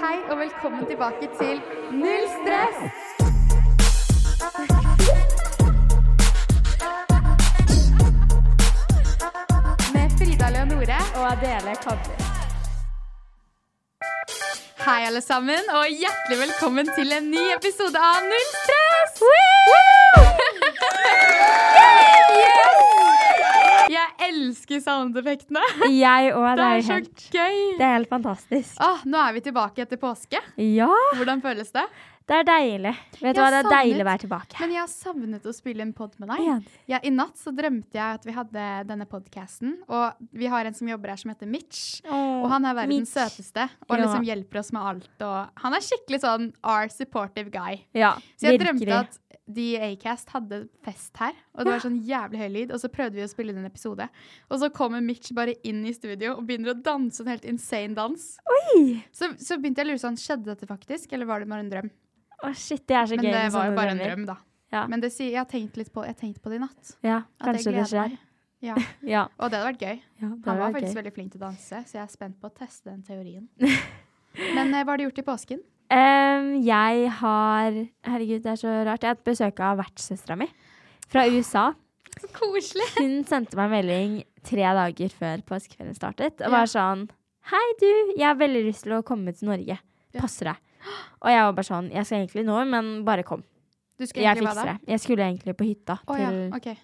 Hei og velkommen tilbake til Null stress! Med Frida Leonore og Adele Kobler. Hei, alle sammen, og hjertelig velkommen til en ny episode av Null stress! Yes! Jeg elsker soundeffektene. Jeg òg. Det er så Det gøy. er helt fantastisk. Åh, nå er vi tilbake etter påske. Ja, Hvordan føles det? det er deilig. Vet du Jeg hva, det er savnet- deilig å være tilbake. Men jeg har savnet å spille en pod med Ja. deg. Ja, I natt så drømte jeg at vi hadde denne podcasten, og vi har en som jobber her som heter Mitch. Og han er verdens Mitch. søteste, og Ja. liksom hjelper oss med alt. Og han er skikkelig sånn our supportive guy. Ja, Så jeg virkelig. drømte at de i Acast hadde fest her, og det var sånn jævlig høy lyd. Og så prøvde vi å spille inn en episode, og så kommer Mitch bare inn i studio og begynner å danse en helt insane dans. Så, så begynte jeg å lure sånn, skjedde dette faktisk, eller var det bare en drøm? Å, shit, det er så Men det gøy. med var jo sånne bare en drømmer. drøm, da. Ja. Men det sier, jeg har tenkt litt på, jeg har tenkt på det i natt. Ja, At jeg kanskje det gleder skjer. meg. Ja. Ja, Og det hadde vært gøy. ja, det Han var var faktisk gøy. veldig flink til å danse, så jeg er spent på å teste den teorien. Men eh, hva har du gjort i påsken? Em, jeg har Herregud, det er så rart. Jeg har hatt besøk av vertssøstera mi fra USA. Så koselig! Hun sendte meg en melding tre dager før påskeferien startet. Ja. Og var sånn Hei, du. Jeg har veldig lyst til å komme til Norge. Passer deg? Og jeg var bare sånn Jeg skal egentlig nå, men bare kom. Du skulle Jeg egentlig være fikser det. der? Jeg skulle egentlig på hytta Å ja, til ok.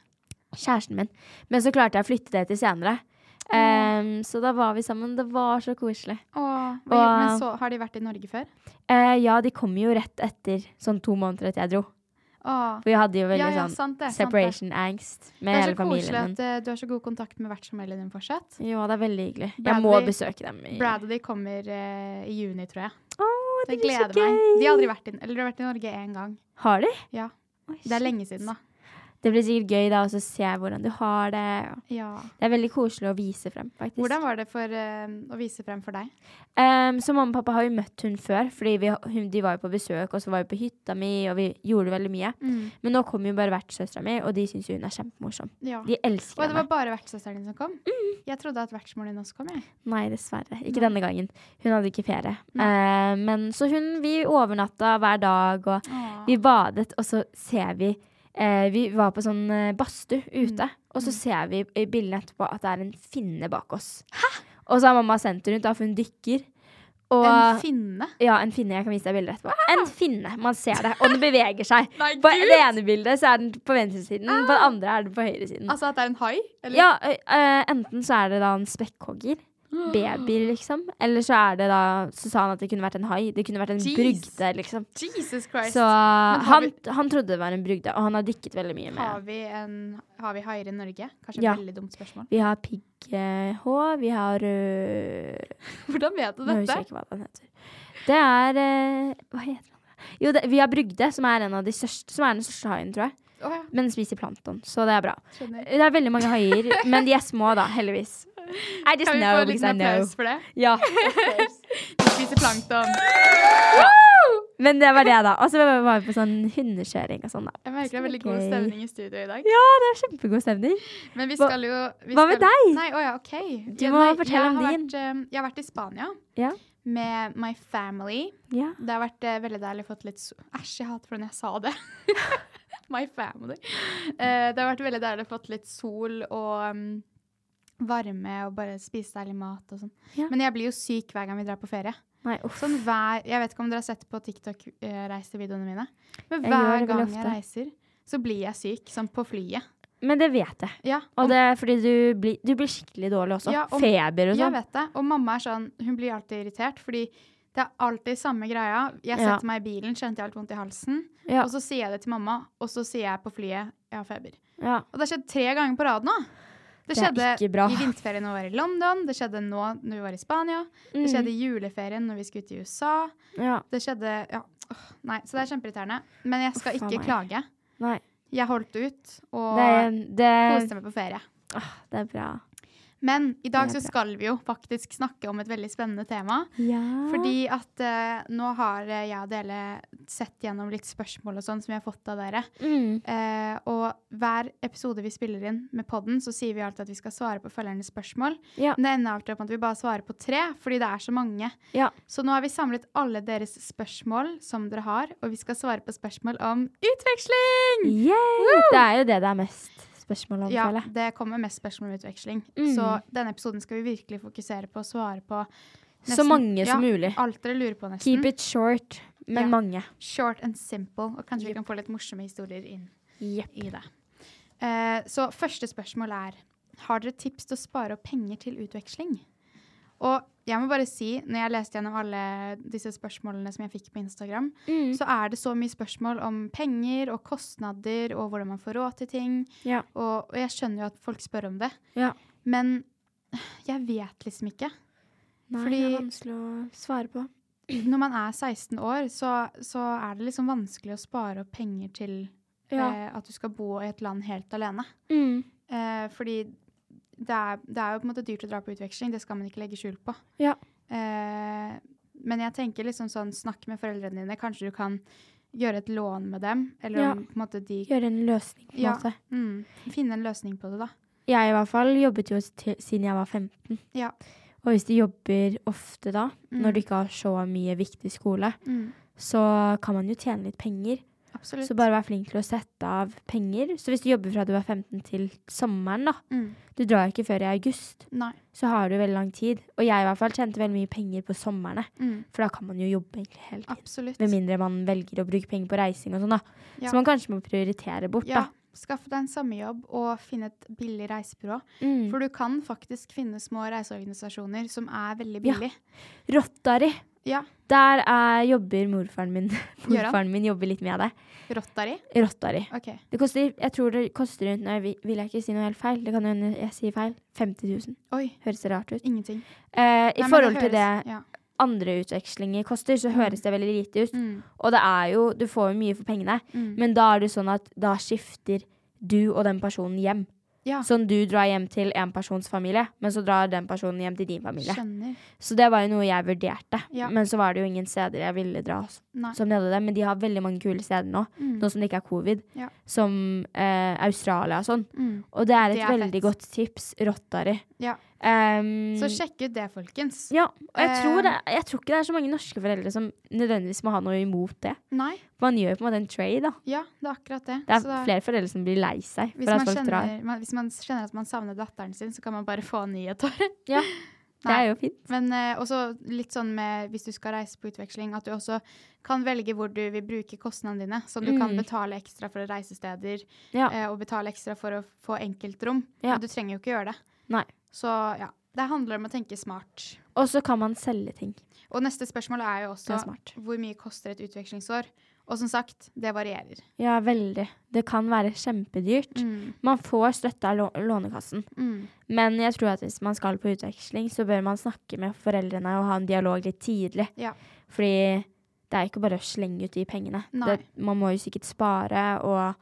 kjæresten min. Men så klarte jeg å flytte det til senere. Ehm, så da var vi sammen. Det var så koselig. Å, hva- Og- men så har de vært i Norge før? Eh, ja, de kom jo rett etter, sånn to måneder etter jeg dro. Å, For vi hadde jo veldig ja, ja, sånn sant det. sant det. separation angst Det med er hele så koselig familien min. at eh, du har så god kontakt med vertsfamilien din fortsatt. Ja, det er veldig hyggelig. Jeg må Bradley- besøke dem. I... Bradley kommer eh, i juni, tror jeg. Åh, Så jeg det blir så gleder meg. gøy! De har aldri vært i, eller de har vært i Norge én gang. Har de? Ja, Oi, Det er shit. lenge siden, da. Det blir sikkert gøy da, og så se hvordan du har det. og Ja. Det er veldig koselig å vise frem, faktisk. Hvordan var det for eh, å vise frem for deg? Ehm, så mamma og pappa har jo møtt hun før, fordi vi, hun, de var jo på besøk, og så var vi på hytta mi, og vi gjorde veldig mye. Mm. Men nå kommer jo bare vertssøstera mi, og de syns jo hun er kjempemorsom. Ja. De elsker Mm. Og det henne. var bare vertssøsteren din som kom? Jeg trodde at vertsmoren din også kom. Jeg. Nei, dessverre. Ikke denne gangen. Hun hadde ikke ferie. Eh, men så hun Vi overnatta hver dag, og vi badet, og så ser vi eh, Vi var på sånn eh, badstue ute, Mm. og så ser vi i bildene etterpå at det er en finne bak oss. Og så har mamma sendt henne rundt, da, for hun dykker. Og En finne? Ja, en finne. Jeg kan vise deg bildet etterpå. En finne. Man ser det, og den beveger seg. Nei, på Gud! Ah! det ene bildet så er den på venstresiden, på det andre er den på høyresiden. Altså at det er en hai? Eller? Ja, ø- ø, enten så er det da en spekkhogger. Ah! Baby, liksom. Eller så er det da Så sa han at det kunne vært en hai. Det kunne vært en Jeez. brugde, liksom. Jesus Christ! Så har han, vi- han trodde det var en brugde, og han har dykket veldig mye har med vi, en- har vi haier i Norge? Kanskje Ja. et veldig dumt spørsmål. Vi har pigghå, vi har øh, Hvordan vet du Nå husker dette? jeg ikke hva den heter. Det er øh, Hva heter den? Jo, det, vi har brugde, som er, en av de største, som er den største haien, tror jeg. Å ja, Men den spiser plankton, så det er bra. skjønner. Det er veldig mange haier, men de er små, da, heldigvis. I just Kan vi know få en because I liten know. applaus for det? Ja. De spiser plankton. Men det var det, da. Og så var vi på sånn hundekjøring og sånn, da. Jeg merker det er veldig god Gøy. stemning i studio i dag. Ja, det er kjempegod stemning. Men vi Hva- skal jo vi hva med skal, deg? Nei, å ja, ok. Du Ja, må nei, fortelle jeg om har din. Vært, eh, jeg har vært i Spania Ja. med my family. Ja. Det har vært eh, veldig deilig fått litt so- Æsj, jeg hater hvordan jeg sa det. My family. Eh, det har vært veldig deilig fått litt sol og um, varme og bare spise deilig mat og sånn. Ja. Men jeg blir jo syk hver gang vi drar på ferie. Nei, uff. Sånn hver, jeg vet ikke om dere har sett på TikTok-reisevideoene mine, men Jeg hver gjør det veldig gang jeg ofte. reiser, så blir jeg syk, sånn på flyet. Men det vet jeg. Ja, Og og, det er fordi du blir, du blir skikkelig dårlig også. Ja, om- Feber og jeg sånn. vet det. Og mamma er sånn, hun blir alltid irritert, fordi det er alltid samme greia. Jeg Ja. setter meg i bilen, kjente jeg har litt vondt i halsen, Ja, og så sier jeg det til mamma, og så sier jeg på flyet, jeg har feber. ja. Og det har skjedd tre ganger på rad nå. Det Det er skjedde ikke bra. i vinterferien når vi var i London, det skjedde nå når vi var i Spania, det Mm. skjedde i juleferien når vi skulle til USA. ja. Det skjedde ja. Åh, Nei, så det er kjempeirriterende. Men jeg skal Uff, faen ikke meg. klage. Nei. Jeg holdt ut og Det, det, koste meg på ferie. åh, det er bra. Men i dag Det er så skal vi jo faktisk snakke om et veldig spennende tema. Ja. Fordi Ah. at eh, nå har eh, jeg og dere sett gjennom litt spørsmål og sånn som vi har fått av dere. mm. Eh, og hver episode vi spiller inn med podden, så sier vi alltid at vi skal svare på følgernes spørsmål. Ja. Men det ender alltid opp med at vi bare svarer på tre, fordi det er så mange. Ja. Så nå har vi samlet alle deres spørsmål som dere har, og vi skal svare på spørsmål om utveksling! Yay! Det er jo det det er mest spørsmål om, Ja, føler jeg. det kommer mest spørsmål om utveksling. Mm. Så denne episoden skal vi virkelig fokusere på å svare på Så mange som ja, mulig. Alt dere lurer på, nesten. Keep it short, men Ja. mange. Short and simple. Og kanskje vi Jepp. kan få litt morsomme historier inn Jepp. i det. Eh, så første spørsmål er Har dere tips til å spare opp penger til utveksling? Og jeg må bare si, når jeg leste gjennom alle disse spørsmålene som jeg fikk på Instagram, Mm. så er det så mye spørsmål om penger og kostnader og hvordan man får råd til ting. Ja. Og, og jeg skjønner jo at folk spør om det, Ja. men jeg vet liksom ikke. Nei, Fordi- det er vanskelig å svare på. Når man er 16 år, så, så er det liksom vanskelig å spare opp penger til eh, at du skal bo i et land helt alene. Mm. Eh, fordi det er, det er jo på en måte dyrt å dra på utveksling, det skal man ikke legge skjul på. Ja. Eh, men jeg tenker liksom sånn, snakk med foreldrene dine, kanskje du kan gjøre et lån med dem, eller Ja. om på en måte de Gjøre en løsning, på en Ja. måte. mm, Finne en løsning på det, da. Jeg i hvert fall jobbet jo til, siden jeg var 15. Ja. Og hvis du jobber ofte da, Mm. når du ikke har så mye viktig skole, Mm, så kan man jo tjene litt penger. absolutt. Så bare vær flink til å sette av penger. Så hvis du jobber fra du er 15 til sommeren, da mm, Du drar jo ikke før i august, nei. så har du veldig lang tid. Og jeg i hvert fall tjente veldig mye penger på somrene, Mm, for da kan man jo jobbe egentlig hele tiden. absolutt. Med mindre man velger å bruke penger på reising og sånn, da. Ja. Så man kanskje må prioritere bort, Ja. da. Skaff deg en sommerjobb og finn et billig reisebyrå. Mm. For du kan faktisk finne små reiseorganisasjoner som er veldig billig. Rotary. Ja. Der er, jobber morfaren min. Gjør han? Morfaren min jobber litt med det. Rotary. Rotary. OK. Det koster, jeg tror det koster rundt Nå vil vil jeg ikke si noe helt feil, det kan jo hende jeg sier feil. 50 000. Oi. Høres det rart ut? Ingenting. Eh, I Nei, men forhold til det høres- Ja. andre utvekslinger koster, så høres det veldig lite ut. Mm, Og det er jo Du får jo mye for pengene, mm. men da er det sånn at da skifter du og den personen hjem. Ja. Sånn du drar hjem til en persons familie, men så drar den personen hjem til din familie. Skjønner. Så det var jo noe jeg vurderte. Ja. Men så var det jo ingen steder jeg ville dra s- Nei. som de hadde det. Men de har veldig mange kule steder nå, Mm. nå som det ikke er covid. Ja. Som eh, Australia og sånn. Mm. Og det er et Det er veldig fett. godt tips. Rotary. Ja. Ehm, Så sjekk ut det, folkens. ja, og jeg tror, Ehm. det, jeg tror ikke det er så mange norske foreldre som nødvendigvis må ha noe imot det. Nei, Man gjør jo på en måte en trade, da. ja, det er akkurat det. Det er Så da- flere foreldre som blir lei seg hvis for man, at folk drar. kjenner, man, hvis man kjenner at man savner datteren sin, så kan man bare få nyheter. Ja, det Nei. er jo fint. Men eh, også litt sånn med hvis du skal reise på utveksling, at du også kan velge hvor du vil bruke kostnadene dine. Sånn du kan Mm. betale ekstra for reisesteder Ja. eh, og betale ekstra for å få enkeltrom. Ja. Men du trenger jo ikke gjøre det. Nei. Så ja, det handler om å tenke smart. Og så kan man selge ting. Og neste spørsmål er jo Det også er smart. hvor mye koster et utvekslingsår? Og som sagt, det varierer. Ja, veldig. Det kan være kjempedyrt. Mm, Man får støtte av lå- Lånekassen. mm, Men jeg tror at hvis man skal på utveksling, så bør man snakke med foreldrene og ha en dialog litt tidlig. Ja. Fordi det er ikke bare å slenge ut de pengene. Nei. Det, man må jo sikkert spare, og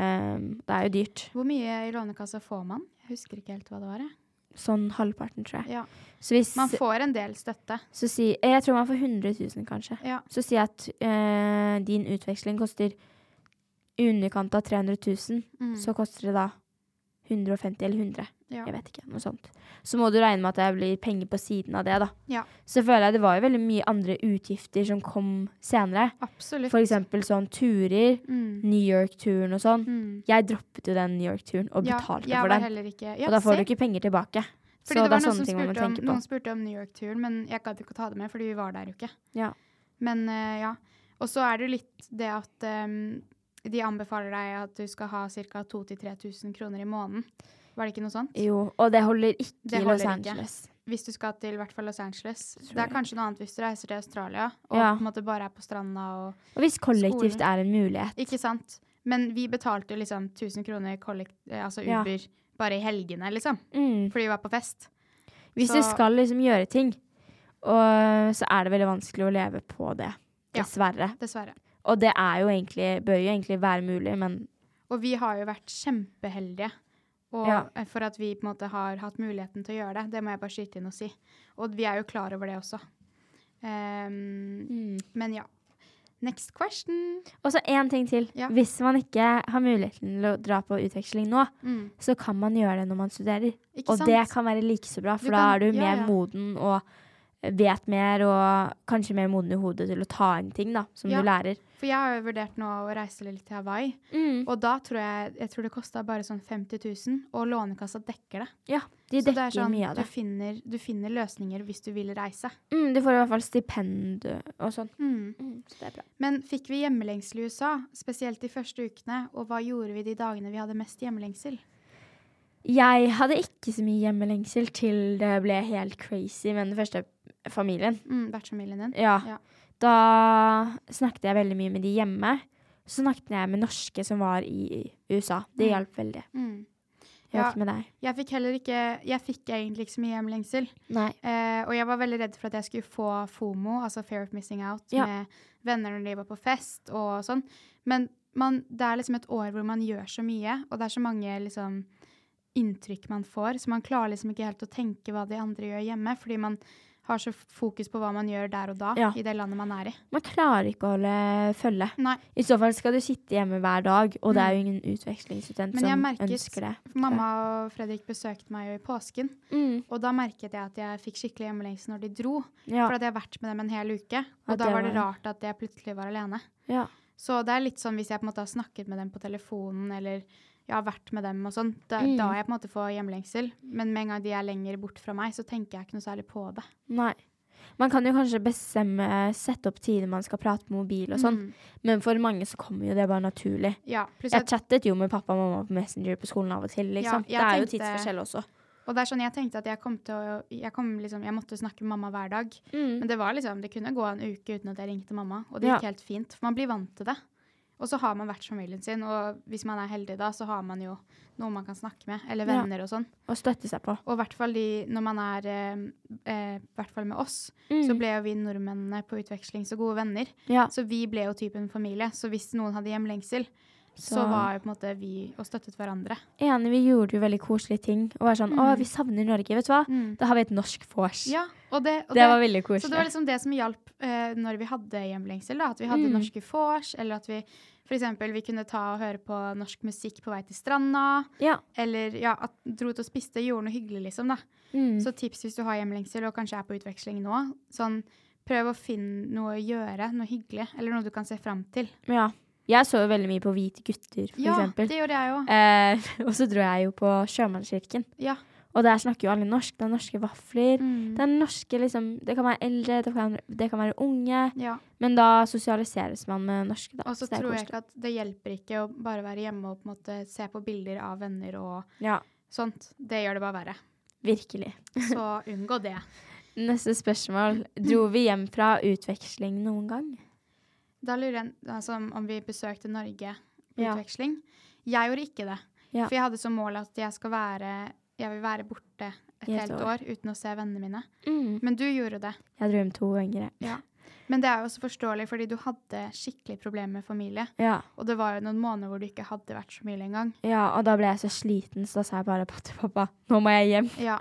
ehm, det er jo dyrt. Hvor mye i Lånekassa får man? Jeg husker ikke helt hva det var. jeg. Sånn halvparten, tror jeg. Ja. Så hvis Man får en del støtte. så si, eh, Jeg tror man får 100 000, kanskje. Ja. Så si at eh, din utveksling koster i underkant av 300 000. Mm. Så koster det da 150 eller 100. Ja. Jeg vet ikke, noe sånt. Så må du regne med at det blir penger på siden av det, da. Ja. Så føler jeg det var jo veldig mye andre utgifter som kom senere. Absolutt. For eksempel sånn turer. Mm. New York-turen og sånn. Mm. Jeg droppet jo den New York-turen og betalte ja, jeg var for den. heller Ikke. Ja, og da får du se. ikke penger tilbake. Fordi så det det var er noen sånne som ting man må spurte om, tenke på. Noen spurte om New York-turen, men jeg gadd ikke å ta det med, fordi vi var der jo ikke. Ja. Men eh, ja. Og så er det jo litt det at ehm, de anbefaler deg at du skal ha ca. 2000-3000 kroner i måneden. Var det ikke noe sånt? Jo, og det holder ikke Det i Los holder ikke. Angeles. Hvis du skal til i hvert fall Los Angeles. Tror Det er jeg. kanskje noe annet hvis du reiser til Australia og Ja. på en måte bare er på stranda og Og hvis kollektivt Skolen. er en mulighet. Ikke sant? Men vi betalte jo liksom 1000 kroner kollekt, eh, altså Ja. Uber bare i helgene, liksom. Mm. Fordi vi var på fest. Hvis Så- du skal liksom gjøre ting, og, så er det veldig vanskelig å leve på det. Ja. Dessverre. Dessverre. Og det er jo egentlig, bør jo egentlig være mulig, men Og vi har jo vært kjempeheldige og, Ja. eh, for at vi på en måte har hatt muligheten til å gjøre det. Det må jeg bare skyte inn og si. Og vi er jo klar over det også. Ehm, Mm. Men ja. Next question. Og så én ting til. Ja. Hvis man ikke har muligheten til å dra på utveksling nå, Mm. så kan man gjøre det når man studerer. Ikke og sant? det kan være like så bra, for Du da kan- er du ja, mer ja. moden og vet mer, og kanskje mer moden i hodet til å ta inn ting da, som Ja. du lærer. For jeg har jo vurdert nå å reise litt til Hawaii. Mm. Og da tror jeg, jeg tror det kosta bare sånn 50 000, og Lånekassa dekker det. Ja, de Så det dekker er sånn, mye av det. Du finner, du finner løsninger hvis du vil reise. Mm, du får i hvert fall stipend og sånn. Mm. Mm, så det er bra. Men fikk vi hjemmelengsel i USA, spesielt de første ukene, og hva gjorde vi de dagene vi hadde mest hjemmelengsel? Jeg hadde ikke så mye hjemmelengsel til det ble helt crazy med den første familien. Mm, Vertsfamilien din? Ja. Ja. Da snakket jeg veldig mye med de hjemme. Så snakket jeg med norske som var i USA. Det Mm. hjalp veldig. Mm. Jeg Ja. vet ikke med deg. Jeg fikk heller ikke Jeg fikk egentlig ikke så mye hjemlengsel. Nei. Eh, og jeg var veldig redd for at jeg skulle få FOMO, altså Fair of Missing Out, Ja. med venner når de var på fest og sånn. Men man, det er liksom et år hvor man gjør så mye, og det er så mange liksom inntrykk man får, så man klarer liksom ikke helt å tenke hva de andre gjør hjemme, fordi man har så fokus på hva man gjør der og da, Ja. i det landet man er i. Man klarer ikke å holde følge. Nei, I så fall skal du sitte hjemme hver dag, og det er jo ingen utvekslingsstudent Men jeg som merket- ønsker det. for mamma og Fredrik besøkte meg jo i påsken, Mm, og da merket jeg at jeg fikk skikkelig hjemmelengsel når de dro, ja, for at jeg har vært med dem en hel uke, og da Ja, det var det var- rart at jeg plutselig var alene. ja. Så det er litt sånn hvis jeg på en måte har snakket med dem på telefonen, eller jeg har vært med dem og sånn, da, Mm. da jeg på en måte får hjemlengsel. Men med en gang de er lenger bort fra meg, så tenker jeg ikke noe særlig på det. Nei. Man kan jo kanskje bestemme, sette opp tider man skal prate på mobil og sånn, Mm. men for mange så kommer jo det bare naturlig. Ja, pluss Jeg at, chattet jo med pappa og mamma på Messenger på skolen av og til. liksom. jeg det er jo tenkte- tidsforskjell også. og det er sånn jeg tenkte at jeg kom til å Jeg, kom liksom, jeg måtte snakke med mamma hver dag. Mm. Men det var liksom, det kunne gå en uke uten at jeg ringte mamma, og det Ja. gikk helt fint. For man blir vant til det. Og så har man vært familien sin, og hvis man er heldig da, så har man jo noen man kan snakke med, eller Ja. venner og sånn. Å støtte seg på. Og i hvert fall de, når man er eh, eh, i hvert fall med oss, så ble jo vi nordmennene på utveksling så gode venner. Mm. Ja. Så vi ble jo typen familie. Så hvis noen hadde hjemlengsel, så, Så- var jo på en måte vi og støttet hverandre. Enig, vi gjorde jo veldig koselige ting. Og var sånn 'Å, vi savner Norge', vet du hva? Mm. Da har vi et norsk vors. Ja, og det, og det, var veldig Så det var koselig. liksom det som hjalp eh, når vi hadde hjemlengsel, da. At vi hadde Mm. norske vors, eller at vi f.eks. vi kunne ta og høre på norsk musikk på vei til stranda, Ja. eller ja, at dro ut og spiste, gjorde noe hyggelig, liksom, da. Mm. Så tips hvis du har hjemlengsel og kanskje er på utveksling nå, sånn prøv å finne noe å gjøre, noe hyggelig, eller noe du kan se fram til. ja. Jeg så jo veldig mye på Hvite gutter, for ja, eksempel. det gjorde jeg òg. Eh, og så dro jeg jo på Sjømannskirken, Ja. og der snakker jo alle norsk. Det er norske vafler. Mm. Det er norske, liksom Det kan være eldre, det kan, det kan være unge. ja. Men da sosialiseres man med norske, da. Og så det er tror jeg koselig. ikke at det hjelper ikke å bare være hjemme og på en måte se på bilder av venner og Ja, sånt. Det gjør det bare verre. virkelig. Så unngå det. Neste spørsmål. Dro Mm. vi hjem fra utveksling noen gang? Da lurer jeg altså, om vi besøkte Norge på Ja. utveksling. Jeg gjorde ikke det. Ja. For jeg hadde som mål at jeg, skal være, jeg vil være borte et I et helt år. Mm. år uten å se vennene mine. Men du gjorde det. Jeg dro hjem to ganger. jeg. Ja. Men det er jo også forståelig, fordi du hadde skikkelig problemer med familie. Ja. Og det var jo noen måneder hvor du ikke hadde vært familie engang. ja, og da ble jeg så sliten, så da sa jeg bare pappa til pappa, nå må jeg hjem. Ja,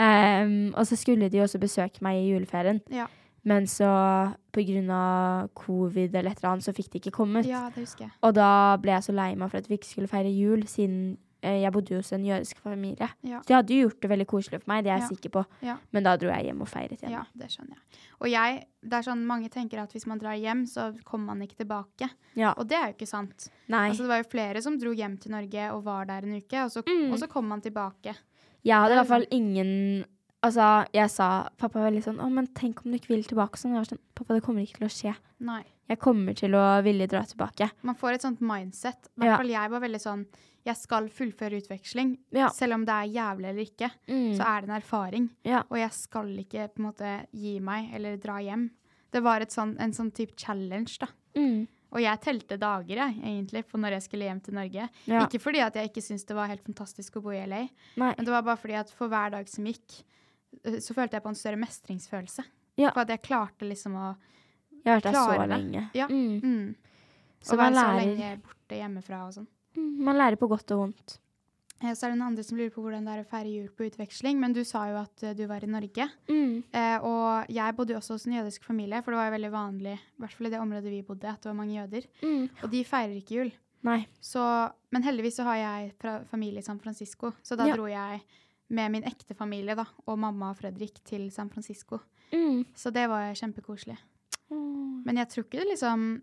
Ehm, og så skulle de jo også besøke meg i juleferien, ja, men så på grunn av covid eller et eller annet, så fikk de ikke kommet. ja, det husker jeg. Og da ble jeg så lei meg for at vi ikke skulle feire jul, siden eh, Jeg bodde jo hos en jødisk familie. Ja. Så de hadde jo gjort det veldig koselig for meg, det er Ja. jeg sikker på. Ja. Men da dro jeg hjem og feiret hjemme. Ja, det skjønner jeg. Og jeg, det er sånn, mange tenker at hvis man drar hjem, så kommer man ikke tilbake. Ja. Og det er jo ikke sant. Nei. Altså, det var jo flere som dro hjem til Norge og var der en uke, og så, Mm. og så kom man tilbake. Jeg hadde i Det er sånn- hvert fall ingen Altså, jeg sa Pappa var litt sånn 'Å, men tenk om du ikke vil tilbake?' Sånn. Jeg var sånn 'Pappa, det kommer ikke til å skje. Nei. Jeg kommer til å ville dra tilbake.' Man får et sånt mindset. I Ja. hvert fall jeg var veldig sånn Jeg skal fullføre utveksling. Ja. Mm. Selv om det er jævlig eller ikke, så er det en erfaring. Ja. Og jeg skal ikke på en måte gi meg eller dra hjem. Det var et sånn, en sånn type challenge, da. Mm. Og jeg telte dager, jeg, egentlig, på når jeg skulle hjem til Norge. Ja. Ikke fordi at jeg ikke syntes det var helt fantastisk å bo i LA, Nei. men det var bare fordi at for hver dag som gikk, øh, så følte jeg på en større mestringsfølelse. Ja. For at jeg klarte liksom å Jeg har vært der så klarer det. lenge. Ja. Mm. mm, Så Å man være så lenge lærer, borte hjemmefra og sånn. Mm, man lærer på godt og vondt. Eh, Så er det noen andre som lurer på hvordan det er å feire jul på utveksling, men du sa jo at eh, du var i Norge. Mm. Eh, og jeg bodde jo også hos en jødisk familie, for det var jo veldig vanlig, i hvert fall i det området vi bodde, at det var mange jøder. Mm. Og de feirer ikke jul. Nei. Så, men heldigvis så har jeg fra familie i San Francisco, så da Ja. dro jeg med min ekte familie da, og mamma og Fredrik til San Francisco. Mm. Så det var kjempekoselig. Men jeg tror ikke det liksom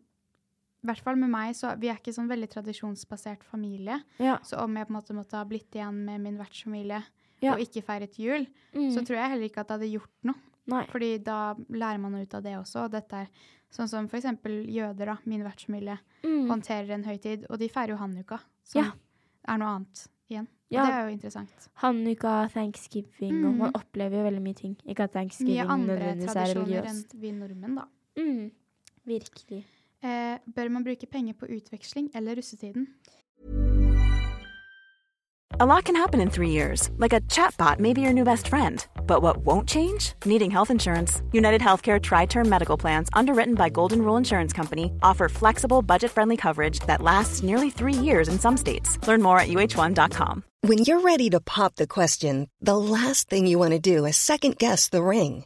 I hvert fall med meg, så vi er ikke sånn veldig tradisjonsbasert familie. Ja. Så om jeg på en måte måtte ha blitt igjen med min vertsfamilie Ja. og ikke feiret jul, Mm. så tror jeg heller ikke at det hadde gjort noe. Nei. Fordi da lærer man ut av det også. Og dette er sånn som f.eks. jøder, da, min vertsfamilie, Mm. håndterer en høytid. Og de feirer jo Hanukkah, som Ja. er noe annet igjen. Og Ja. det er jo interessant. Hanukka, thanksgiving og Man opplever jo veldig mye ting. Ikke Mm. at Mye thanksgiving andre nødvendigvis er tradisjoner enn religiøst. vi nordmenn, da. Mm. Virkelig. Eh, bør man bruke penger på utveksling eller russetiden? A lot can happen in three years, like a chatbot may be your new best friend. But what won't change? Needing health insurance. United Healthcare Tri Term Medical Plans, underwritten by Golden Rule Insurance Company, offer flexible, budget friendly coverage that lasts nearly three years in some states. Learn more at uh1.com. When you're ready to pop the question, the last thing you want to do is second guess the ring.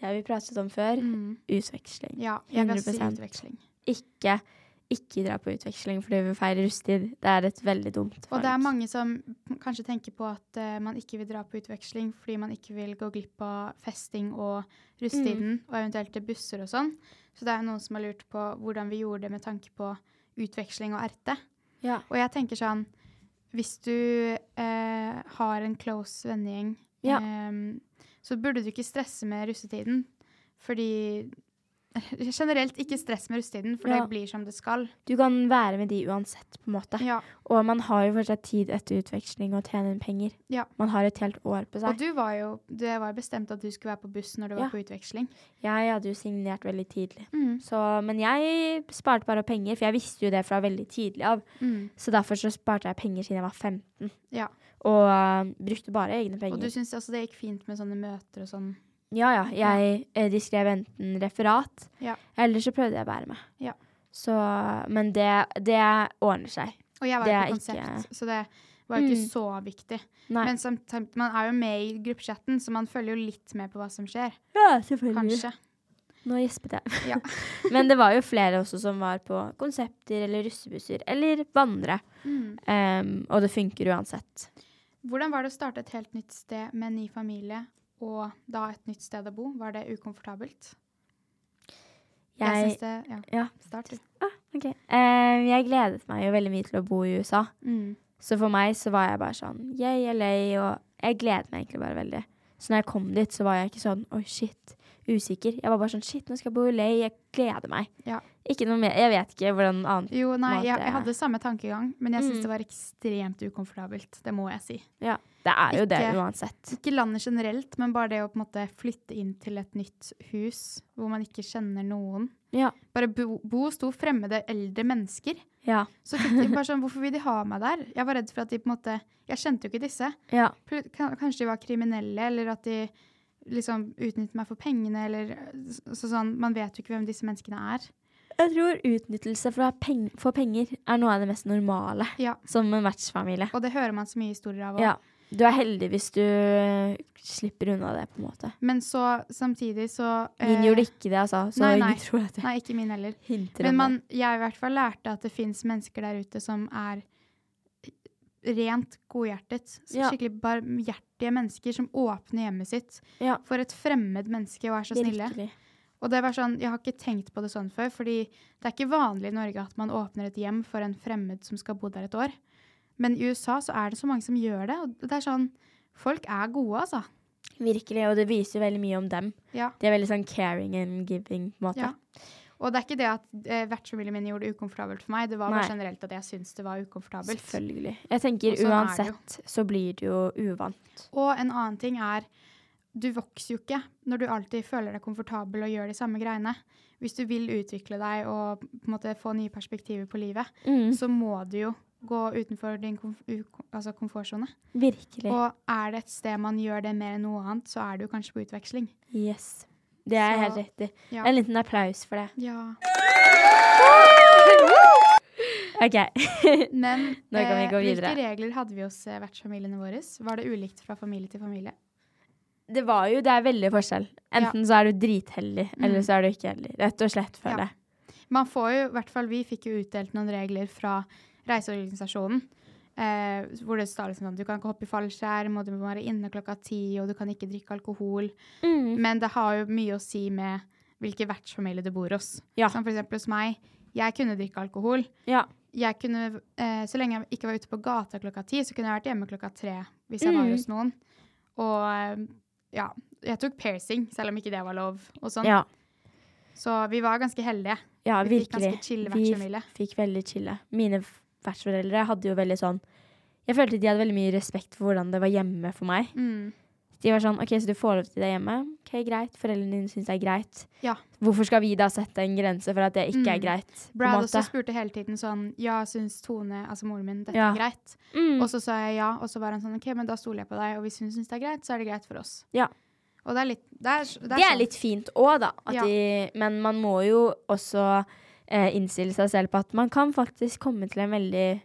Det har vi pratet om før. Mm. Utveksling. Ja, jeg kan si 100%. utveksling. Ikke, ikke dra på utveksling fordi vi feirer russetid. Det er et veldig dumt Og det er valg. mange som kanskje tenker på at eh, man ikke vil dra på utveksling fordi man ikke vil gå glipp av festing og russetiden, Mm. og eventuelt til busser og sånn. Så det er jo noen som har lurt på hvordan vi gjorde det med tanke på utveksling og RT. ja. Og jeg tenker sånn Hvis du eh, har en close vennegjeng, Ja. ehm, så burde du ikke stresse med russetiden. Fordi Generelt ikke stress med russetiden, for Ja. det blir som det skal. Du kan være med de uansett, på en måte. Ja. Og man har jo fortsatt tid etter utveksling å tjene inn penger. Ja. Man har et helt år på Og seg. du var jo det var jo bestemt at du skulle være på buss når du Ja. var på utveksling. Jeg hadde jo signert veldig tidlig. Så, men jeg sparte bare penger, for jeg visste jo det fra veldig tidlig av. Så derfor så sparte jeg penger siden jeg var 15, Ja. og øh, brukte bare egne Og penger. du syns også det gikk fint med sånne møter og sånn. Ja, ja. Jeg, eh, de skrev enten referat, Ja. eller så prøvde jeg å bære meg. Ja. Så, men det, det ordner seg. Og jeg var Det jo er på konsept, ikke- så det var jo ikke Mm. så viktig. Nei. Men samtidig, man er jo med i gruppechatten, så man følger jo litt med på hva som skjer. ja, selvfølgelig. Kanskje. Nå gjespet jeg. Ja. men det var jo flere også som var på konsepter eller russebusser eller vandre. Em, og det funker uansett. Hvordan var det å starte et helt nytt sted med en ny familie, og da et nytt sted å bo? Var det ukomfortabelt? Jeg, Jeg, syns det Ja, ja. start du. ah, ok. Em, jeg gledet meg jo veldig mye til å bo i USA. Mm. Så for meg så var jeg bare sånn yay, LA, og jeg gledet meg egentlig bare veldig. Så når jeg kom dit, så var jeg ikke sånn oi, shit, usikker. Jeg var bare sånn shit, nå skal jeg bo i LA, jeg gleder meg. Ja. Ikke noe mer, jeg vet ikke hvordan annet. Jo, nei, Mat jeg, er- jeg hadde samme tankegang, men jeg syns Mm. det var ekstremt ukomfortabelt. Det må jeg si. Ja. Det er jo det Ikke- uansett. Ikke landet generelt, men bare det å på en måte flytte inn til et nytt hus hvor man ikke kjenner noen. Ja. Bare bo, bo sto fremmede eldre mennesker. Ja. Så fikk de bare sånn, hvorfor vil de ha meg der? Jeg var redd for at de på en måte Jeg kjente jo ikke disse. ja. Pl- kan- Kanskje de var kriminelle, eller at de liksom utnyttet meg for pengene, eller så, sånn Man vet jo ikke hvem disse menneskene er. Jeg tror utnyttelse for, å ha peng for penger er noe av det mest normale Ja. som en vertsfamilie. Og det hører man så mye historier av. også. Ja. Du er heldig hvis du eh, slipper unna det, på en måte. Men så samtidig så Min eh, gjorde ikke det, altså. Så nei, nei, nei. jeg tror at jeg Nei, ikke min heller. hinter Men om man, jeg i hvert fall lærte at det fins mennesker der ute som er rent godhjertet. Så Ja. Skikkelig barmhjertige mennesker som åpner hjemmet sitt det. Ja, for et fremmed menneske og er så snille. virkelig. Og det var sånn, Jeg har ikke tenkt på det sånn før, fordi det er ikke vanlig i Norge at man åpner et hjem for en fremmed som skal bo der et år. Men i USA så er det så mange som gjør det. og det er sånn, Folk er gode, altså. Virkelig, og det viser jo veldig mye om dem. Ja. De er veldig sånn caring and giving, på en måte. Ja. Og det er ikke det at eh, vertsfamilien min gjorde det ukomfortabelt for meg, det var bare Nei. generelt at jeg syntes det var ukomfortabelt. Selvfølgelig. Jeg tenker Og sånn er det jo. uansett så blir det jo uvant. Og en annen ting er du vokser jo ikke når du alltid føler deg komfortabel og gjør de samme greiene. Hvis du vil utvikle deg og på en måte få nye perspektiver på livet, Mm. så må du jo gå utenfor din komf u- altså komfortsone. Virkelig. Og er det et sted man gjør det mer enn noe annet, så er du kanskje på utveksling. Yes. Det er jeg Så- helt rett i. Ja. En liten applaus for det. Ja. OK. Men Nå kan vi eh, gå hvilke videre. regler hadde vi hos eh, vertsfamiliene våre? Var det ulikt fra familie til familie? det var jo Det er veldig forskjell. Enten så er du dritheldig, eller så er du ikke heldig. Rett og slett, Mm. Ja. føler jeg. Man får jo, i hvert fall vi fikk jo utdelt noen regler fra reiseorganisasjonen. Eh, hvor det står liksom sånn du kan ikke hoppe i fallskjerm, og du må være inne klokka ti, og du kan ikke drikke alkohol. Mm. Men det har jo mye å si med hvilken vertsfamilie du bor hos. Ja. Som for eksempel hos meg. Jeg kunne drikke alkohol. Ja. Jeg kunne, eh, så lenge jeg ikke var ute på gata klokka ti, så kunne jeg vært hjemme klokka tre hvis Mm. jeg var hos noen. Og eh, ja, jeg tok piercing, selv om ikke det var lov. Og sånn. Ja. Så vi var ganske heldige. ja, Vi fikk virkelig. ganske chill Vi vertsfamilie. f- fikk veldig chille. Mine f- vertsforeldre hadde jo veldig sånn Jeg følte de hadde veldig mye respekt for hvordan det var hjemme for meg. Mm. De var sånn OK, så du får lov til det hjemme. OK, greit. Foreldrene dine syns det er greit. Ja. Hvorfor skal vi da sette en grense for at det ikke Mm. er greit? på en Brad også måte? spurte hele tiden sånn Ja, syns Tone, altså moren min, dette Ja. er greit? Mm. Og så sa jeg ja, og så var han sånn OK, men da stoler jeg på deg, og hvis hun syns det er greit, så er det greit for oss. Ja. Og det er litt Det er, det er Det er sånn. litt fint òg, da. At Ja. de, men man må jo også eh, innstille seg selv på at man kan faktisk komme til en veldig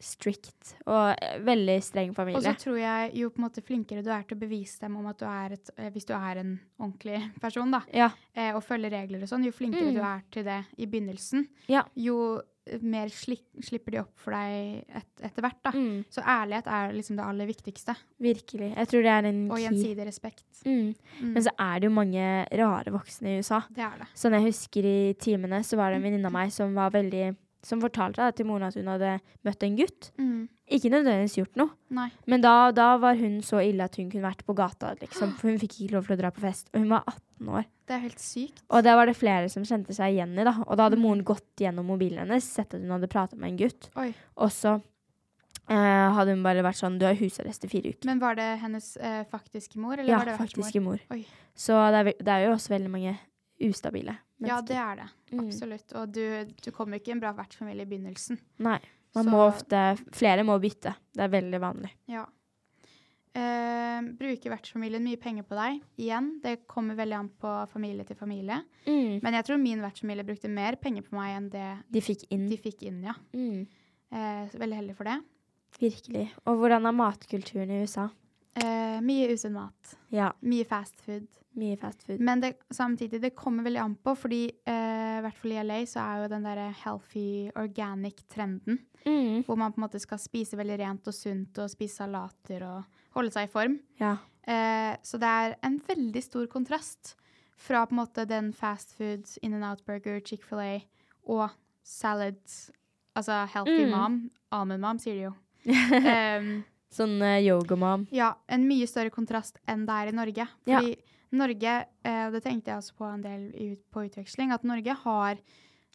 strict og eh, veldig streng Og så familie. tror jeg jo på en måte flinkere du er til å bevise dem om at du er et eh, Hvis du er en ordentlig person, da, Ja. eh, og følger regler og sånn, jo flinkere Mm. du er til det i begynnelsen, Ja. jo eh, mer slik, slipper de opp for deg et, etter hvert, da. Mm, Så ærlighet er liksom det aller viktigste. virkelig. Jeg tror det er en Og key. gjensidig respekt. Mm. Mm. Men så er det jo mange rare voksne i USA. Det er det. Sånn jeg husker i timene, så var det en venninne av meg som var veldig som fortalte da, til moren at hun hadde møtt en gutt. Mm. Ikke nødvendigvis gjort noe, Nei. men da, da var hun så ille at hun kunne vært på gata. Liksom, for hun fikk ikke lov til å dra på fest. Og hun var 18 år. Det er helt sykt. Og der var det flere som kjente seg igjen i, da. Og da hadde moren gått gjennom mobilen hennes, sett at hun hadde prata med en gutt. Oi. Og så eh, hadde hun bare vært sånn Du har husarrest i fire uker. Men var det hennes eh, faktiske mor, eller Ja, var det faktiske mor. Oi. Så det er, ve- det er jo også veldig mange ustabile Ja, det er det. Mm. Absolutt. Og du, du kom jo ikke i en bra vertsfamilie i begynnelsen. Nei. Man Så- må ofte Flere må bytte. Det er veldig vanlig. Ja. Eh, bruker vertsfamilien mye penger på deg? Igjen, det kommer veldig an på familie til familie. Men jeg tror min vertsfamilie brukte mer penger på meg enn det De fikk inn. de fikk inn, ja. Mm. Eh, så veldig heldig for det. Virkelig. Og hvordan er matkulturen i USA? Eh, mye usunn mat. Ja, Mye fast food. mye fast food. Men det, samtidig, det kommer veldig an på, fordi eh, i hvert fall i LA så er jo den derre healthy organic-trenden Mm. hvor man på en måte skal spise veldig rent og sunt og spise salater og holde seg i form. Ja. Eh, så det er en veldig stor kontrast fra på en måte den fast food, in and out burger, Chick-fil-A og salad, altså healthy Mm. mom, almond mom sier de jo. Ehm, Em, Sånn uh, yogamam. ja, en mye større kontrast enn det er i Norge. Ja. Fordi Norge, eh, og det tenkte jeg også på en del i, ut- på utveksling, at Norge har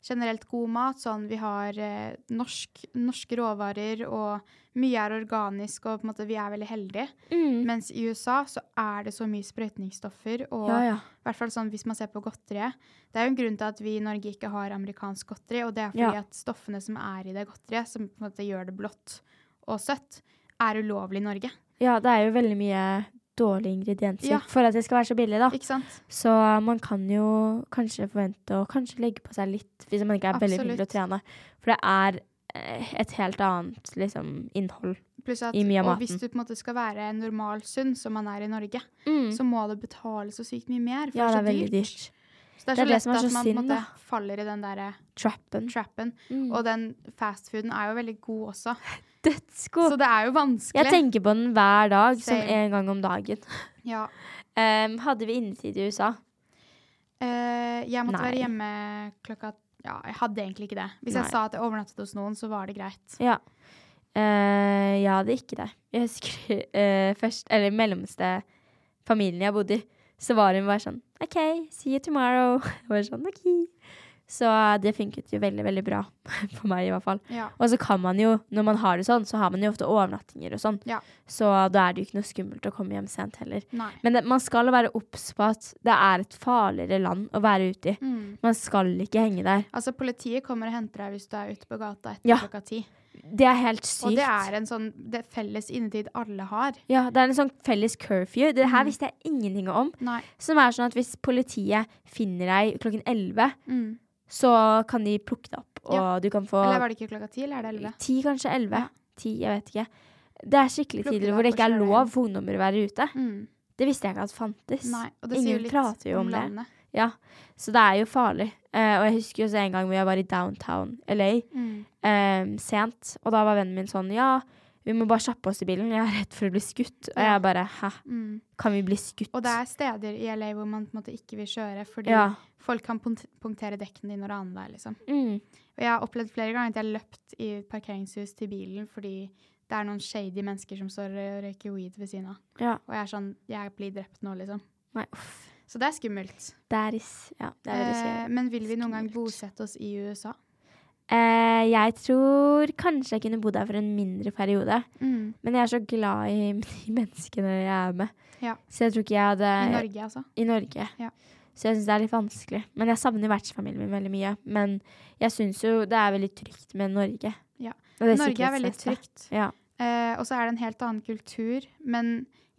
generelt god mat. Sånn vi har eh, norsk, norske råvarer, og mye er organisk, og på en måte vi er veldig heldige. Mm. Mens i USA så er det så mye sprøytningsstoffer, og ja, ja. i hvert fall sånn hvis man ser på godteriet. Det er jo en grunn til at vi i Norge ikke har amerikansk godteri, og det er fordi Ja. at stoffene som er i det godteriet, som på en måte gjør det blått og søtt, er ulovlig i Norge. ja, det er jo veldig mye dårlige ingredienser Ja. for at det skal være så billig, da. Ikke sant? Så man kan jo kanskje forvente å kanskje legge på seg litt hvis man ikke er veldig flink til å trene. For det er eh, et helt annet liksom, innhold. Pluss at I mye av og hvis maten. du på en måte skal være normal sunn, som man er i Norge, så Som- må det betale så sykt mye mer. For Ja, det er det veldig så dyrt. dyrt. Så det er Det så er det lett som er at så man på en synd, måte da. faller i den der eh, Trappen. trappen. Mm. Og den fastfooden er jo veldig god også. Så Dødsgod. det er jo vanskelig. Jeg tenker på den hver dag, som Same. en gang om dagen. Ja. Em, hadde vi innetid i USA? Eh, jeg måtte Nei. være hjemme klokka Ja, jeg hadde egentlig ikke det. Hvis Nei. jeg sa at jeg overnattet hos noen, så var det greit. Ja. Eh, jeg hadde ikke det. Jeg husker eh, først, eller mellomste familien jeg bodde i, så var hun bare sånn OK, see you tomorrow. Jeg var sånn, ok. Så eh, det funket jo veldig, veldig bra. For meg, i hvert fall. Ja. Og så kan man jo, når man har det sånn, så har man jo ofte overnattinger og sånn. Ja. Så da er det jo ikke noe skummelt å komme hjem sent heller. Nei. Men det, man skal være obs på at det er et farligere land å være ute i. Mm. Man skal ikke henge der. Altså, politiet kommer og henter deg hvis du er ute på gata etter Ja. klokka ti. Det er helt sykt. Og det er en sånn det er felles innetid alle har. Ja, det er en sånn felles curfew. Det Mm. her visste jeg ingenting om. Nei. Som er sånn at hvis politiet finner deg klokken 11, Mm. så kan de plukke deg opp, og Ja. du kan få Eller var det ikke klokka ti, eller er det elleve? 10, kanskje 11. 10, jeg vet ikke. Det er skikkelig Plukke deg tider hvor det opp ikke og er kjøre lov for ungdommer å være ute. Mm. Det visste jeg ikke at fantes. Nei. Og det sier jo Ingen litt prater jo om, det. landet. Ja, Så det er jo farlig. Eh, og jeg husker jo også en gang hvor jeg var i downtown LA Mm. eh, sent, og da var vennen min sånn Ja, vi må bare kjappe oss i bilen, jeg er redd for å bli skutt. Og Ja. jeg bare Hæ, Mm. kan vi bli skutt? Og det er steder i LA hvor man på en måte ikke vil kjøre fordi ja. folk kan punkt- punktere dekkene dine og rane deg, liksom. Mm. Og jeg har opplevd flere ganger at jeg har løpt i et parkeringshus til bilen fordi det er noen shady mennesker som står og røyker weed ved siden av. Ja. Og jeg er sånn Jeg blir drept nå, liksom. Nei, uff. Så det er skummelt. Det er is- Ja, det er veldig Eh, kjedelig. men vil vi noen gang Skummelt. bosette oss i USA? Eh, jeg tror kanskje jeg kunne bodd her for en mindre periode. Men jeg er så glad i de menneskene jeg er med. Ja. Så jeg tror ikke jeg hadde I Norge, altså? i Norge. Ja. Så jeg syns det er litt vanskelig. Men jeg savner vertsfamilien min veldig mye. Men jeg syns jo det er veldig trygt med Norge. Ja. Og det Norge er veldig sikkerhetsnettet. trygt. Ja. Eh, og så er det en helt annen kultur. Men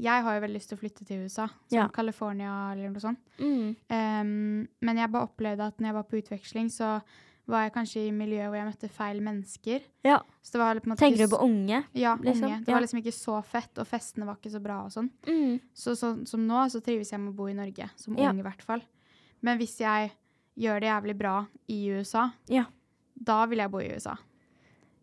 jeg har jo veldig lyst til å flytte til USA, som Ja. California eller noe sånt. Mm. Em, men jeg bare opplevde at når jeg var på utveksling, så var jeg kanskje i miljø hvor jeg møtte feil mennesker. Ja. Så det var på en måte ikke Tenker du på unge? s- Ja, liksom? unge. Det Ja. var liksom ikke så fett, og festene var ikke så bra og sånn. Mm. Så sånn som nå, så trives jeg med å bo i Norge, som Ja. ung i hvert fall. Men hvis jeg gjør det jævlig bra i USA, Ja. da vil jeg bo i USA.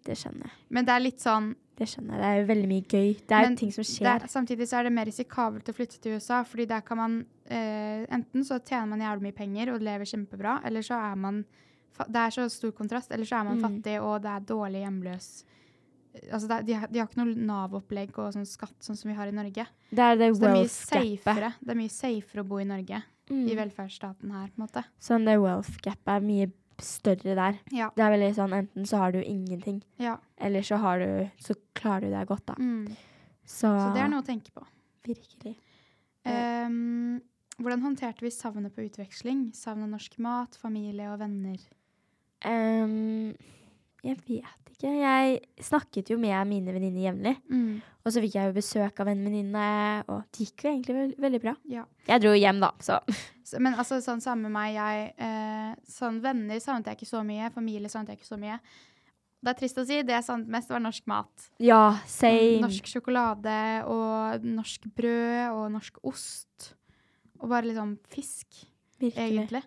Det skjønner jeg. Men det er litt sånn Det skjønner jeg. Det er jo veldig mye gøy. Det er Men jo ting som det, skjer. er- samtidig så er det mer risikabelt å flytte til USA, fordi der kan man eh, Enten så tjener man jævlig mye penger og lever kjempebra, eller så er man fa Det er så stor kontrast. Eller så er man Mm. fattig, og det er dårlig hjemløs Altså, det, er- de, har- de har ikke noe Nav-opplegg og sånn skatt sånn som vi har i Norge. Det er det Så det er mye wealth-gapet. safere, det er mye safere å bo i Norge, Mm. i velferdsstaten her, på en måte. Sånn det wealth-gapet er mye større der. Ja. Det er veldig sånn, Enten så har du ingenting, ja. eller så, har du, så klarer du deg godt, da. Mm. Så, Så det er noe å tenke på. virkelig. Ehm, hvordan håndterte vi savnet på utveksling? Savnet norsk mat, familie og venner? Ehm, jeg vet ikke. Jeg snakket jo med mine venninner jevnlig. Mm. Og så fikk jeg jo besøk av en venninne, og det gikk jo egentlig vel- veldig bra. Ja. Jeg dro hjem, da, så Så, men altså, sånn samme med meg, jeg eh, sånn, Venner savnet jeg ikke så mye. Familie savnet jeg ikke så mye. Det er trist å si. Det jeg savnet mest, var norsk mat. Ja, same. Norsk sjokolade og norsk brød og norsk ost. Og bare liksom fisk, virkelig. egentlig.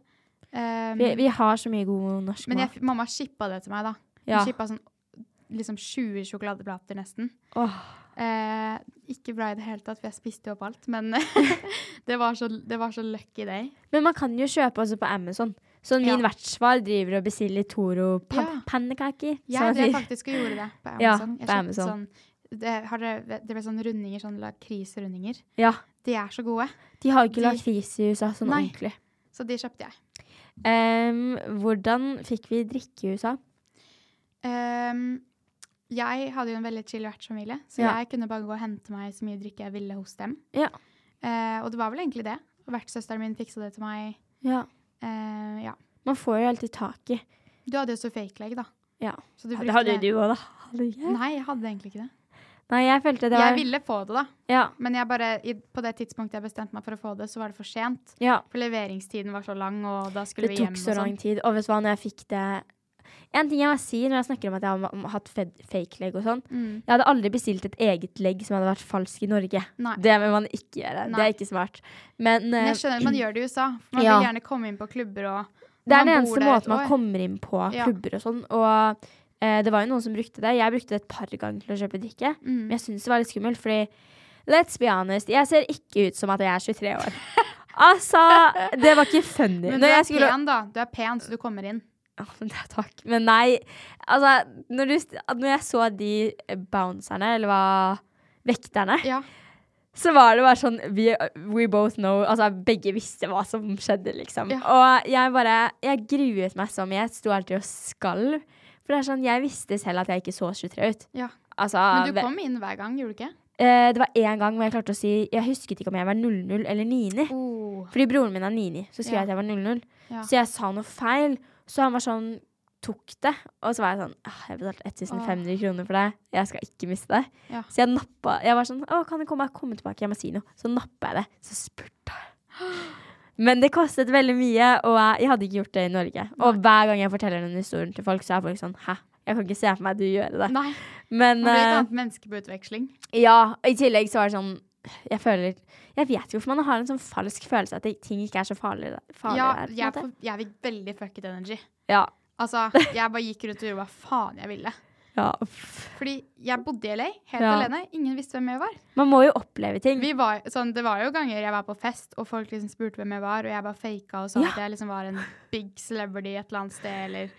Um, Vi, vi har så mye god norsk men mat. jeg, mamma shippa det til meg, da. Hun Ja. shippa sånn liksom 20 sjokoladeplater, nesten. Åh, Eh, ikke bra i det hele tatt, for jeg spiste jo opp alt. Men det, var så, det var så lucky day. Men man kan jo kjøpe også på Amazon. Sånn min Ja. vertsfar driver og bestiller Toro pan Ja. pannekaker. som Jeg han drev sier. faktisk og gjorde det på Ja, Amazon. Jeg på kjøpte Amazon. Sånn, det, har dere, det ble sånne rundinger, sånn lakrisrundinger. Ja. De er så gode, De har jo ikke De- lakris i USA sånn Nei. ordentlig. så de kjøpte jeg. Em, hvordan fikk vi drikke i USA? Ehm, jeg hadde jo en veldig chill vertsfamilie, så Ja. jeg kunne bare gå og hente meg så mye drikke jeg ville hos dem. Ja. Eh, og det var vel egentlig det. Og Vertssøsteren min fiksa det til meg. Eh, ja. Man får jo alltid tak i. Du hadde jo så fake leg, da. Ja. Så du det hadde brukte- du òg, da. Hadde ikke jeg? Nei, jeg hadde egentlig ikke det. Nei, jeg følte det var Jeg ville få det, da. Ja. Men jeg bare, i, på det tidspunktet jeg bestemte meg for å få det, så var det for sent. ja. For leveringstiden var så lang, og da skulle Det vi hjem tok og så lang sånn. tid. Og vet du hva, når jeg fikk det En ting jeg må si når jeg snakker om at jeg har hatt fed- fake leg og sånn. Mm. Jeg hadde aldri bestilt et eget legg som hadde vært falsk i Norge. Nei. Det vil man ikke gjøre. Det Nei. er ikke smart. Men, Men jeg eh, skjønner at man gjør det i USA. For man Ja. vil gjerne komme inn på klubber og Det er Man bor den eneste der et måten man år. kommer inn på Ja. klubber og sånn. Og eh, det var jo noen som brukte det. Jeg brukte det et par ganger til å kjøpe drikke. Mm. Men jeg syns det var litt skummelt, fordi let's be honest, jeg ser ikke ut som at jeg er 23 år. altså, det var ikke funny. Men du Når er jeg skulle pen, da. Du er pen, så du kommer inn. Ja, men det er takk. Men nei, altså, når, du, st- når jeg så de bouncerne, eller hva Vekterne. Ja. Så var det bare sånn we, we both know Altså, begge visste hva som skjedde, liksom. Ja. Og jeg bare Jeg gruet meg så mye. Jeg sto alltid og skalv. For det er sånn, jeg visste selv at jeg ikke så 23 ut. ja. Altså, Men du ve- kom inn hver gang, gjorde du ikke? eh, det var én gang hvor jeg klarte å si Jeg husket ikke om jeg var 00 eller 99. Oh. Fordi broren min er 99, så skrev Ja. jeg at jeg var 00. Ja. Så jeg sa noe feil, så han var sånn Tok det. Og så var jeg sånn «Ah, Jeg betalte 1500 kroner for deg. Jeg skal ikke miste det. Ja. Så jeg nappa Jeg var sånn Å, kan du komme, komme tilbake? Jeg må si noe. Så nappa jeg det. Så spurte jeg. Men det kostet veldig mye, og jeg- jeg hadde ikke gjort det i Norge. Og hver gang jeg forteller den historien til folk, så er folk sånn Hæ? Jeg kan ikke se for meg du gjøre det. Nei. Men Man blir et eh, annet menneske på utveksling. ja, og i tillegg så var det sånn Jeg føler Jeg vet ikke hvorfor man har en sånn falsk følelse at det- ting ikke er så farlig. farlig Ja, der, på en jeg, måte. får- jeg fikk veldig fucket energy. ja, Altså, jeg bare gikk rundt og gjorde hva faen jeg ville. ja. uff. Fordi jeg bodde i LA helt Ja. alene. Ingen visste hvem jeg var. Man må jo oppleve ting. Vi var, sånn, det var jo ganger jeg var på fest, og folk liksom spurte hvem jeg var, og jeg bare faka og sa Ja. at jeg liksom var en big celebrity et eller annet sted, eller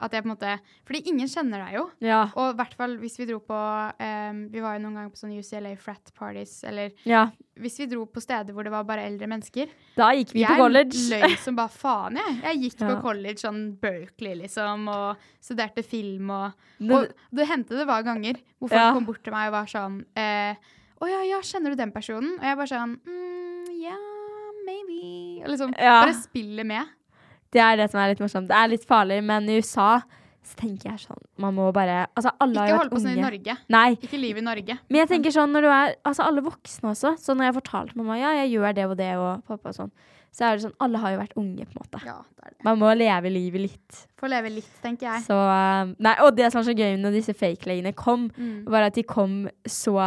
at jeg på en måte Fordi ingen kjenner deg jo. ja, Og i hvert fall hvis vi dro på em, Vi var jo noen ganger på sånne UCLA frat parties, eller ja. hvis vi dro på steder hvor det var bare eldre mennesker. Da gikk vi på college. løy som bare faen, jeg. Jeg gikk på Ja. college, sånn Berkeley, liksom, og studerte film og Og Det- det hendte det var ganger hvor folk Ja. kom bort til meg og var sånn eh, Å ja, ja, kjenner du den personen? Og jeg bare sånn mm, Ja, maybe. Og liksom Ja. bare spille med. Det er det som er litt morsomt. Det er litt farlig, men i USA så tenker jeg sånn Man må bare Altså, alle har Ikke jo holde vært på sånn i unge. Norge. Nei. Ikke liv i Norge. Men jeg tenker sånn når du er Altså alle voksne også. Så når jeg fortalte mamma ja, jeg gjør det og det og pappa og sånn, så er det sånn Alle har jo vært unge, på en måte. Ja, det er det. Man må leve livet litt. Få leve litt, tenker jeg. Så, eh, nei, og det som var så gøy når disse fake-legene kom, var at de kom så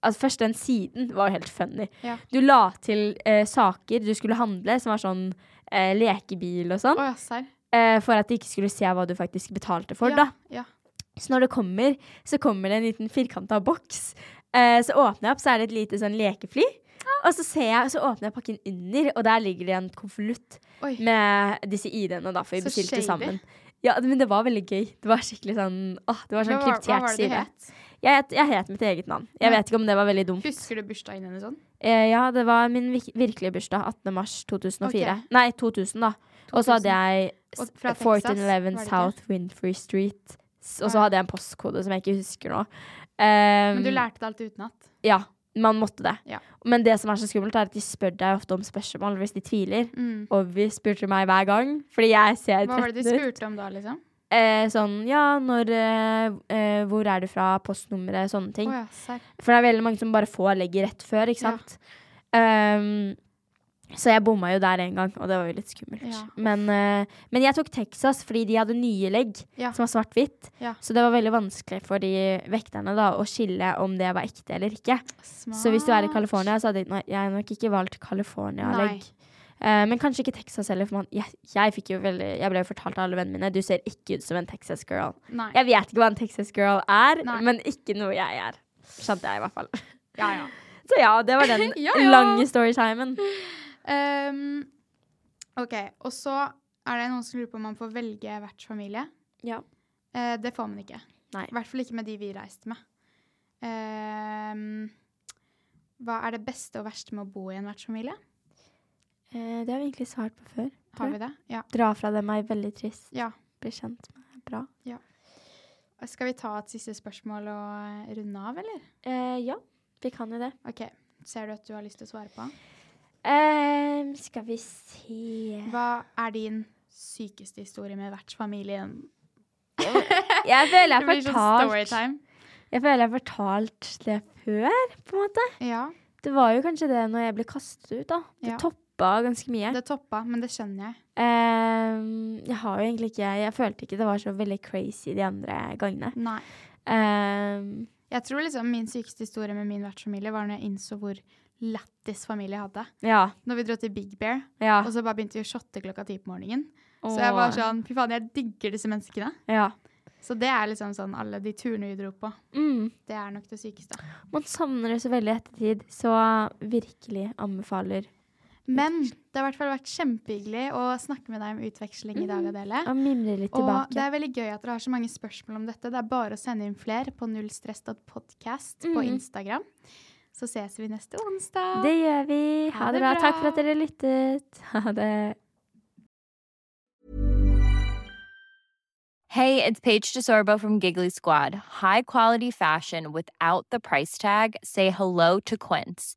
Altså Først den siden var jo helt funny. Ja. Du la til eh, saker du skulle handle, som var sånn eh, lekebil og sånn, Å ja, serr. eh, for at de ikke skulle se hva du faktisk betalte for. Ja, da ja. Så når det kommer, så kommer det en liten firkanta boks. Eh, så åpner jeg opp, så er det et lite sånn lekefly. Og så ser jeg, så åpner jeg pakken under, og der ligger det en konvolutt Oi. med disse ID-ene. da, for vi Så shady. bestilte sammen. Ja, men det var veldig gøy. Det var skikkelig sånn åh, det var sånn Hva var- hva kryptert var det de side. het? Jeg het, jeg het mitt eget navn. Jeg vet ikke om det var veldig dumt. Husker du bursdagen hennes sånn? Eh, ja, det var min vik virkelige bursdag. 18. mars 2004. Ok. Nei, 2000, da. Og så 2000. hadde jeg Og s- fra Texas, 1411 var det ikke? South Winfrey Street. S- Og Ah, så ja. hadde jeg en postkode som jeg ikke husker nå. Eh, Men du lærte det alt utenat. Ja, man måtte det. Ja. Men det som er så skummelt, er at de spør deg ofte om spørsmål hvis de tviler. Mm. Og vi spurte meg hver gang, fordi jeg ser Hva var det de 13 ut. spurte om da, liksom? Eh, sånn ja, når eh, eh, Hvor er du fra? Postnummeret, sånne Å ting. ja, serr. For det er veldig mange som bare får legget rett før, ikke Ja. sant. Ehm, så jeg bomma jo der en gang, og det var jo litt skummelt. Ja. Men, eh, men jeg tok Texas fordi de hadde nye legg Ja. som var svart-hvitt. Ja. Så det var veldig vanskelig for de vekterne da å skille om det var ekte eller ikke. Så hvis du er i Smart. California, så hadde jeg- nei, jeg nok ikke valgt California-legg. Eh, men kanskje ikke Texas heller, for man, jeg, jeg, fikk jo veldig, jeg ble jo fortalt av alle vennene mine du ser ikke ut som en Texas girl. Nei. Jeg vet ikke hva en Texas girl er, Nei. men ikke noe jeg er. Skjønte jeg, i hvert fall. Ja, ja. Så ja, det var den Ja, ja. lange storytimen. Ehm, OK. Og så er det noen som lurer på om man får velge vertsfamilie. Ja. Eh, det får man ikke. Nei. I hvert fall ikke med de vi reiste med. Ehm, hva er det beste og verste med å bo i en vertsfamilie? Eh, det har vi egentlig svart på før. Har vi det? Ja. Dra fra dem er veldig trist. ja. Bli kjent med bra. Skal vi ta et siste spørsmål og runde av, eller? Eh, ja, vi kan jo det. OK. Ser du at du har lyst til å svare på? Eh, skal vi se Hva er din sykeste historie med vertsfamilien? Jeg føler jeg Det har blir sånn fortalt storytime. Jeg føler jeg har fortalt det før, på en måte. Ja, Det var jo kanskje det når jeg ble kastet ut, da. Det Ja. toppa ganske mye. det toppa, men det skjønner jeg. Ehm, jeg har jo egentlig ikke Jeg følte ikke det var så veldig crazy de andre gangene. Nei. Ehm, Jeg tror liksom min sykeste historie med min vertsfamilie var når jeg innså hvor lættis familie jeg hadde. ja. Når vi dro til Big Bear, Ja. og så bare begynte vi å shotte klokka ti på morgenen. Så jeg var sånn Fy faen, jeg digger disse menneskene. Ja. Så det er liksom sånn alle de turene vi dro på. Mm. Det er nok det sykeste. Man savner det så veldig i ettertid, så virkelig anbefaler. Men det har i hvert fall vært kjempehyggelig å snakke med deg om utveksling i dag, Adele. Og mimre litt Og Mm. tilbake. det er veldig gøy at dere har så mange spørsmål om dette. Det er bare å sende inn flere på nullstress.podcast på Instagram. Så ses vi neste onsdag. Mm. Det gjør vi. Ha, det bra. Takk bra. for at dere lyttet. Ha det. Hey, it's Paige DeSorbo from Giggly Squad. High quality fashion without the price tag. Say hello to Quince.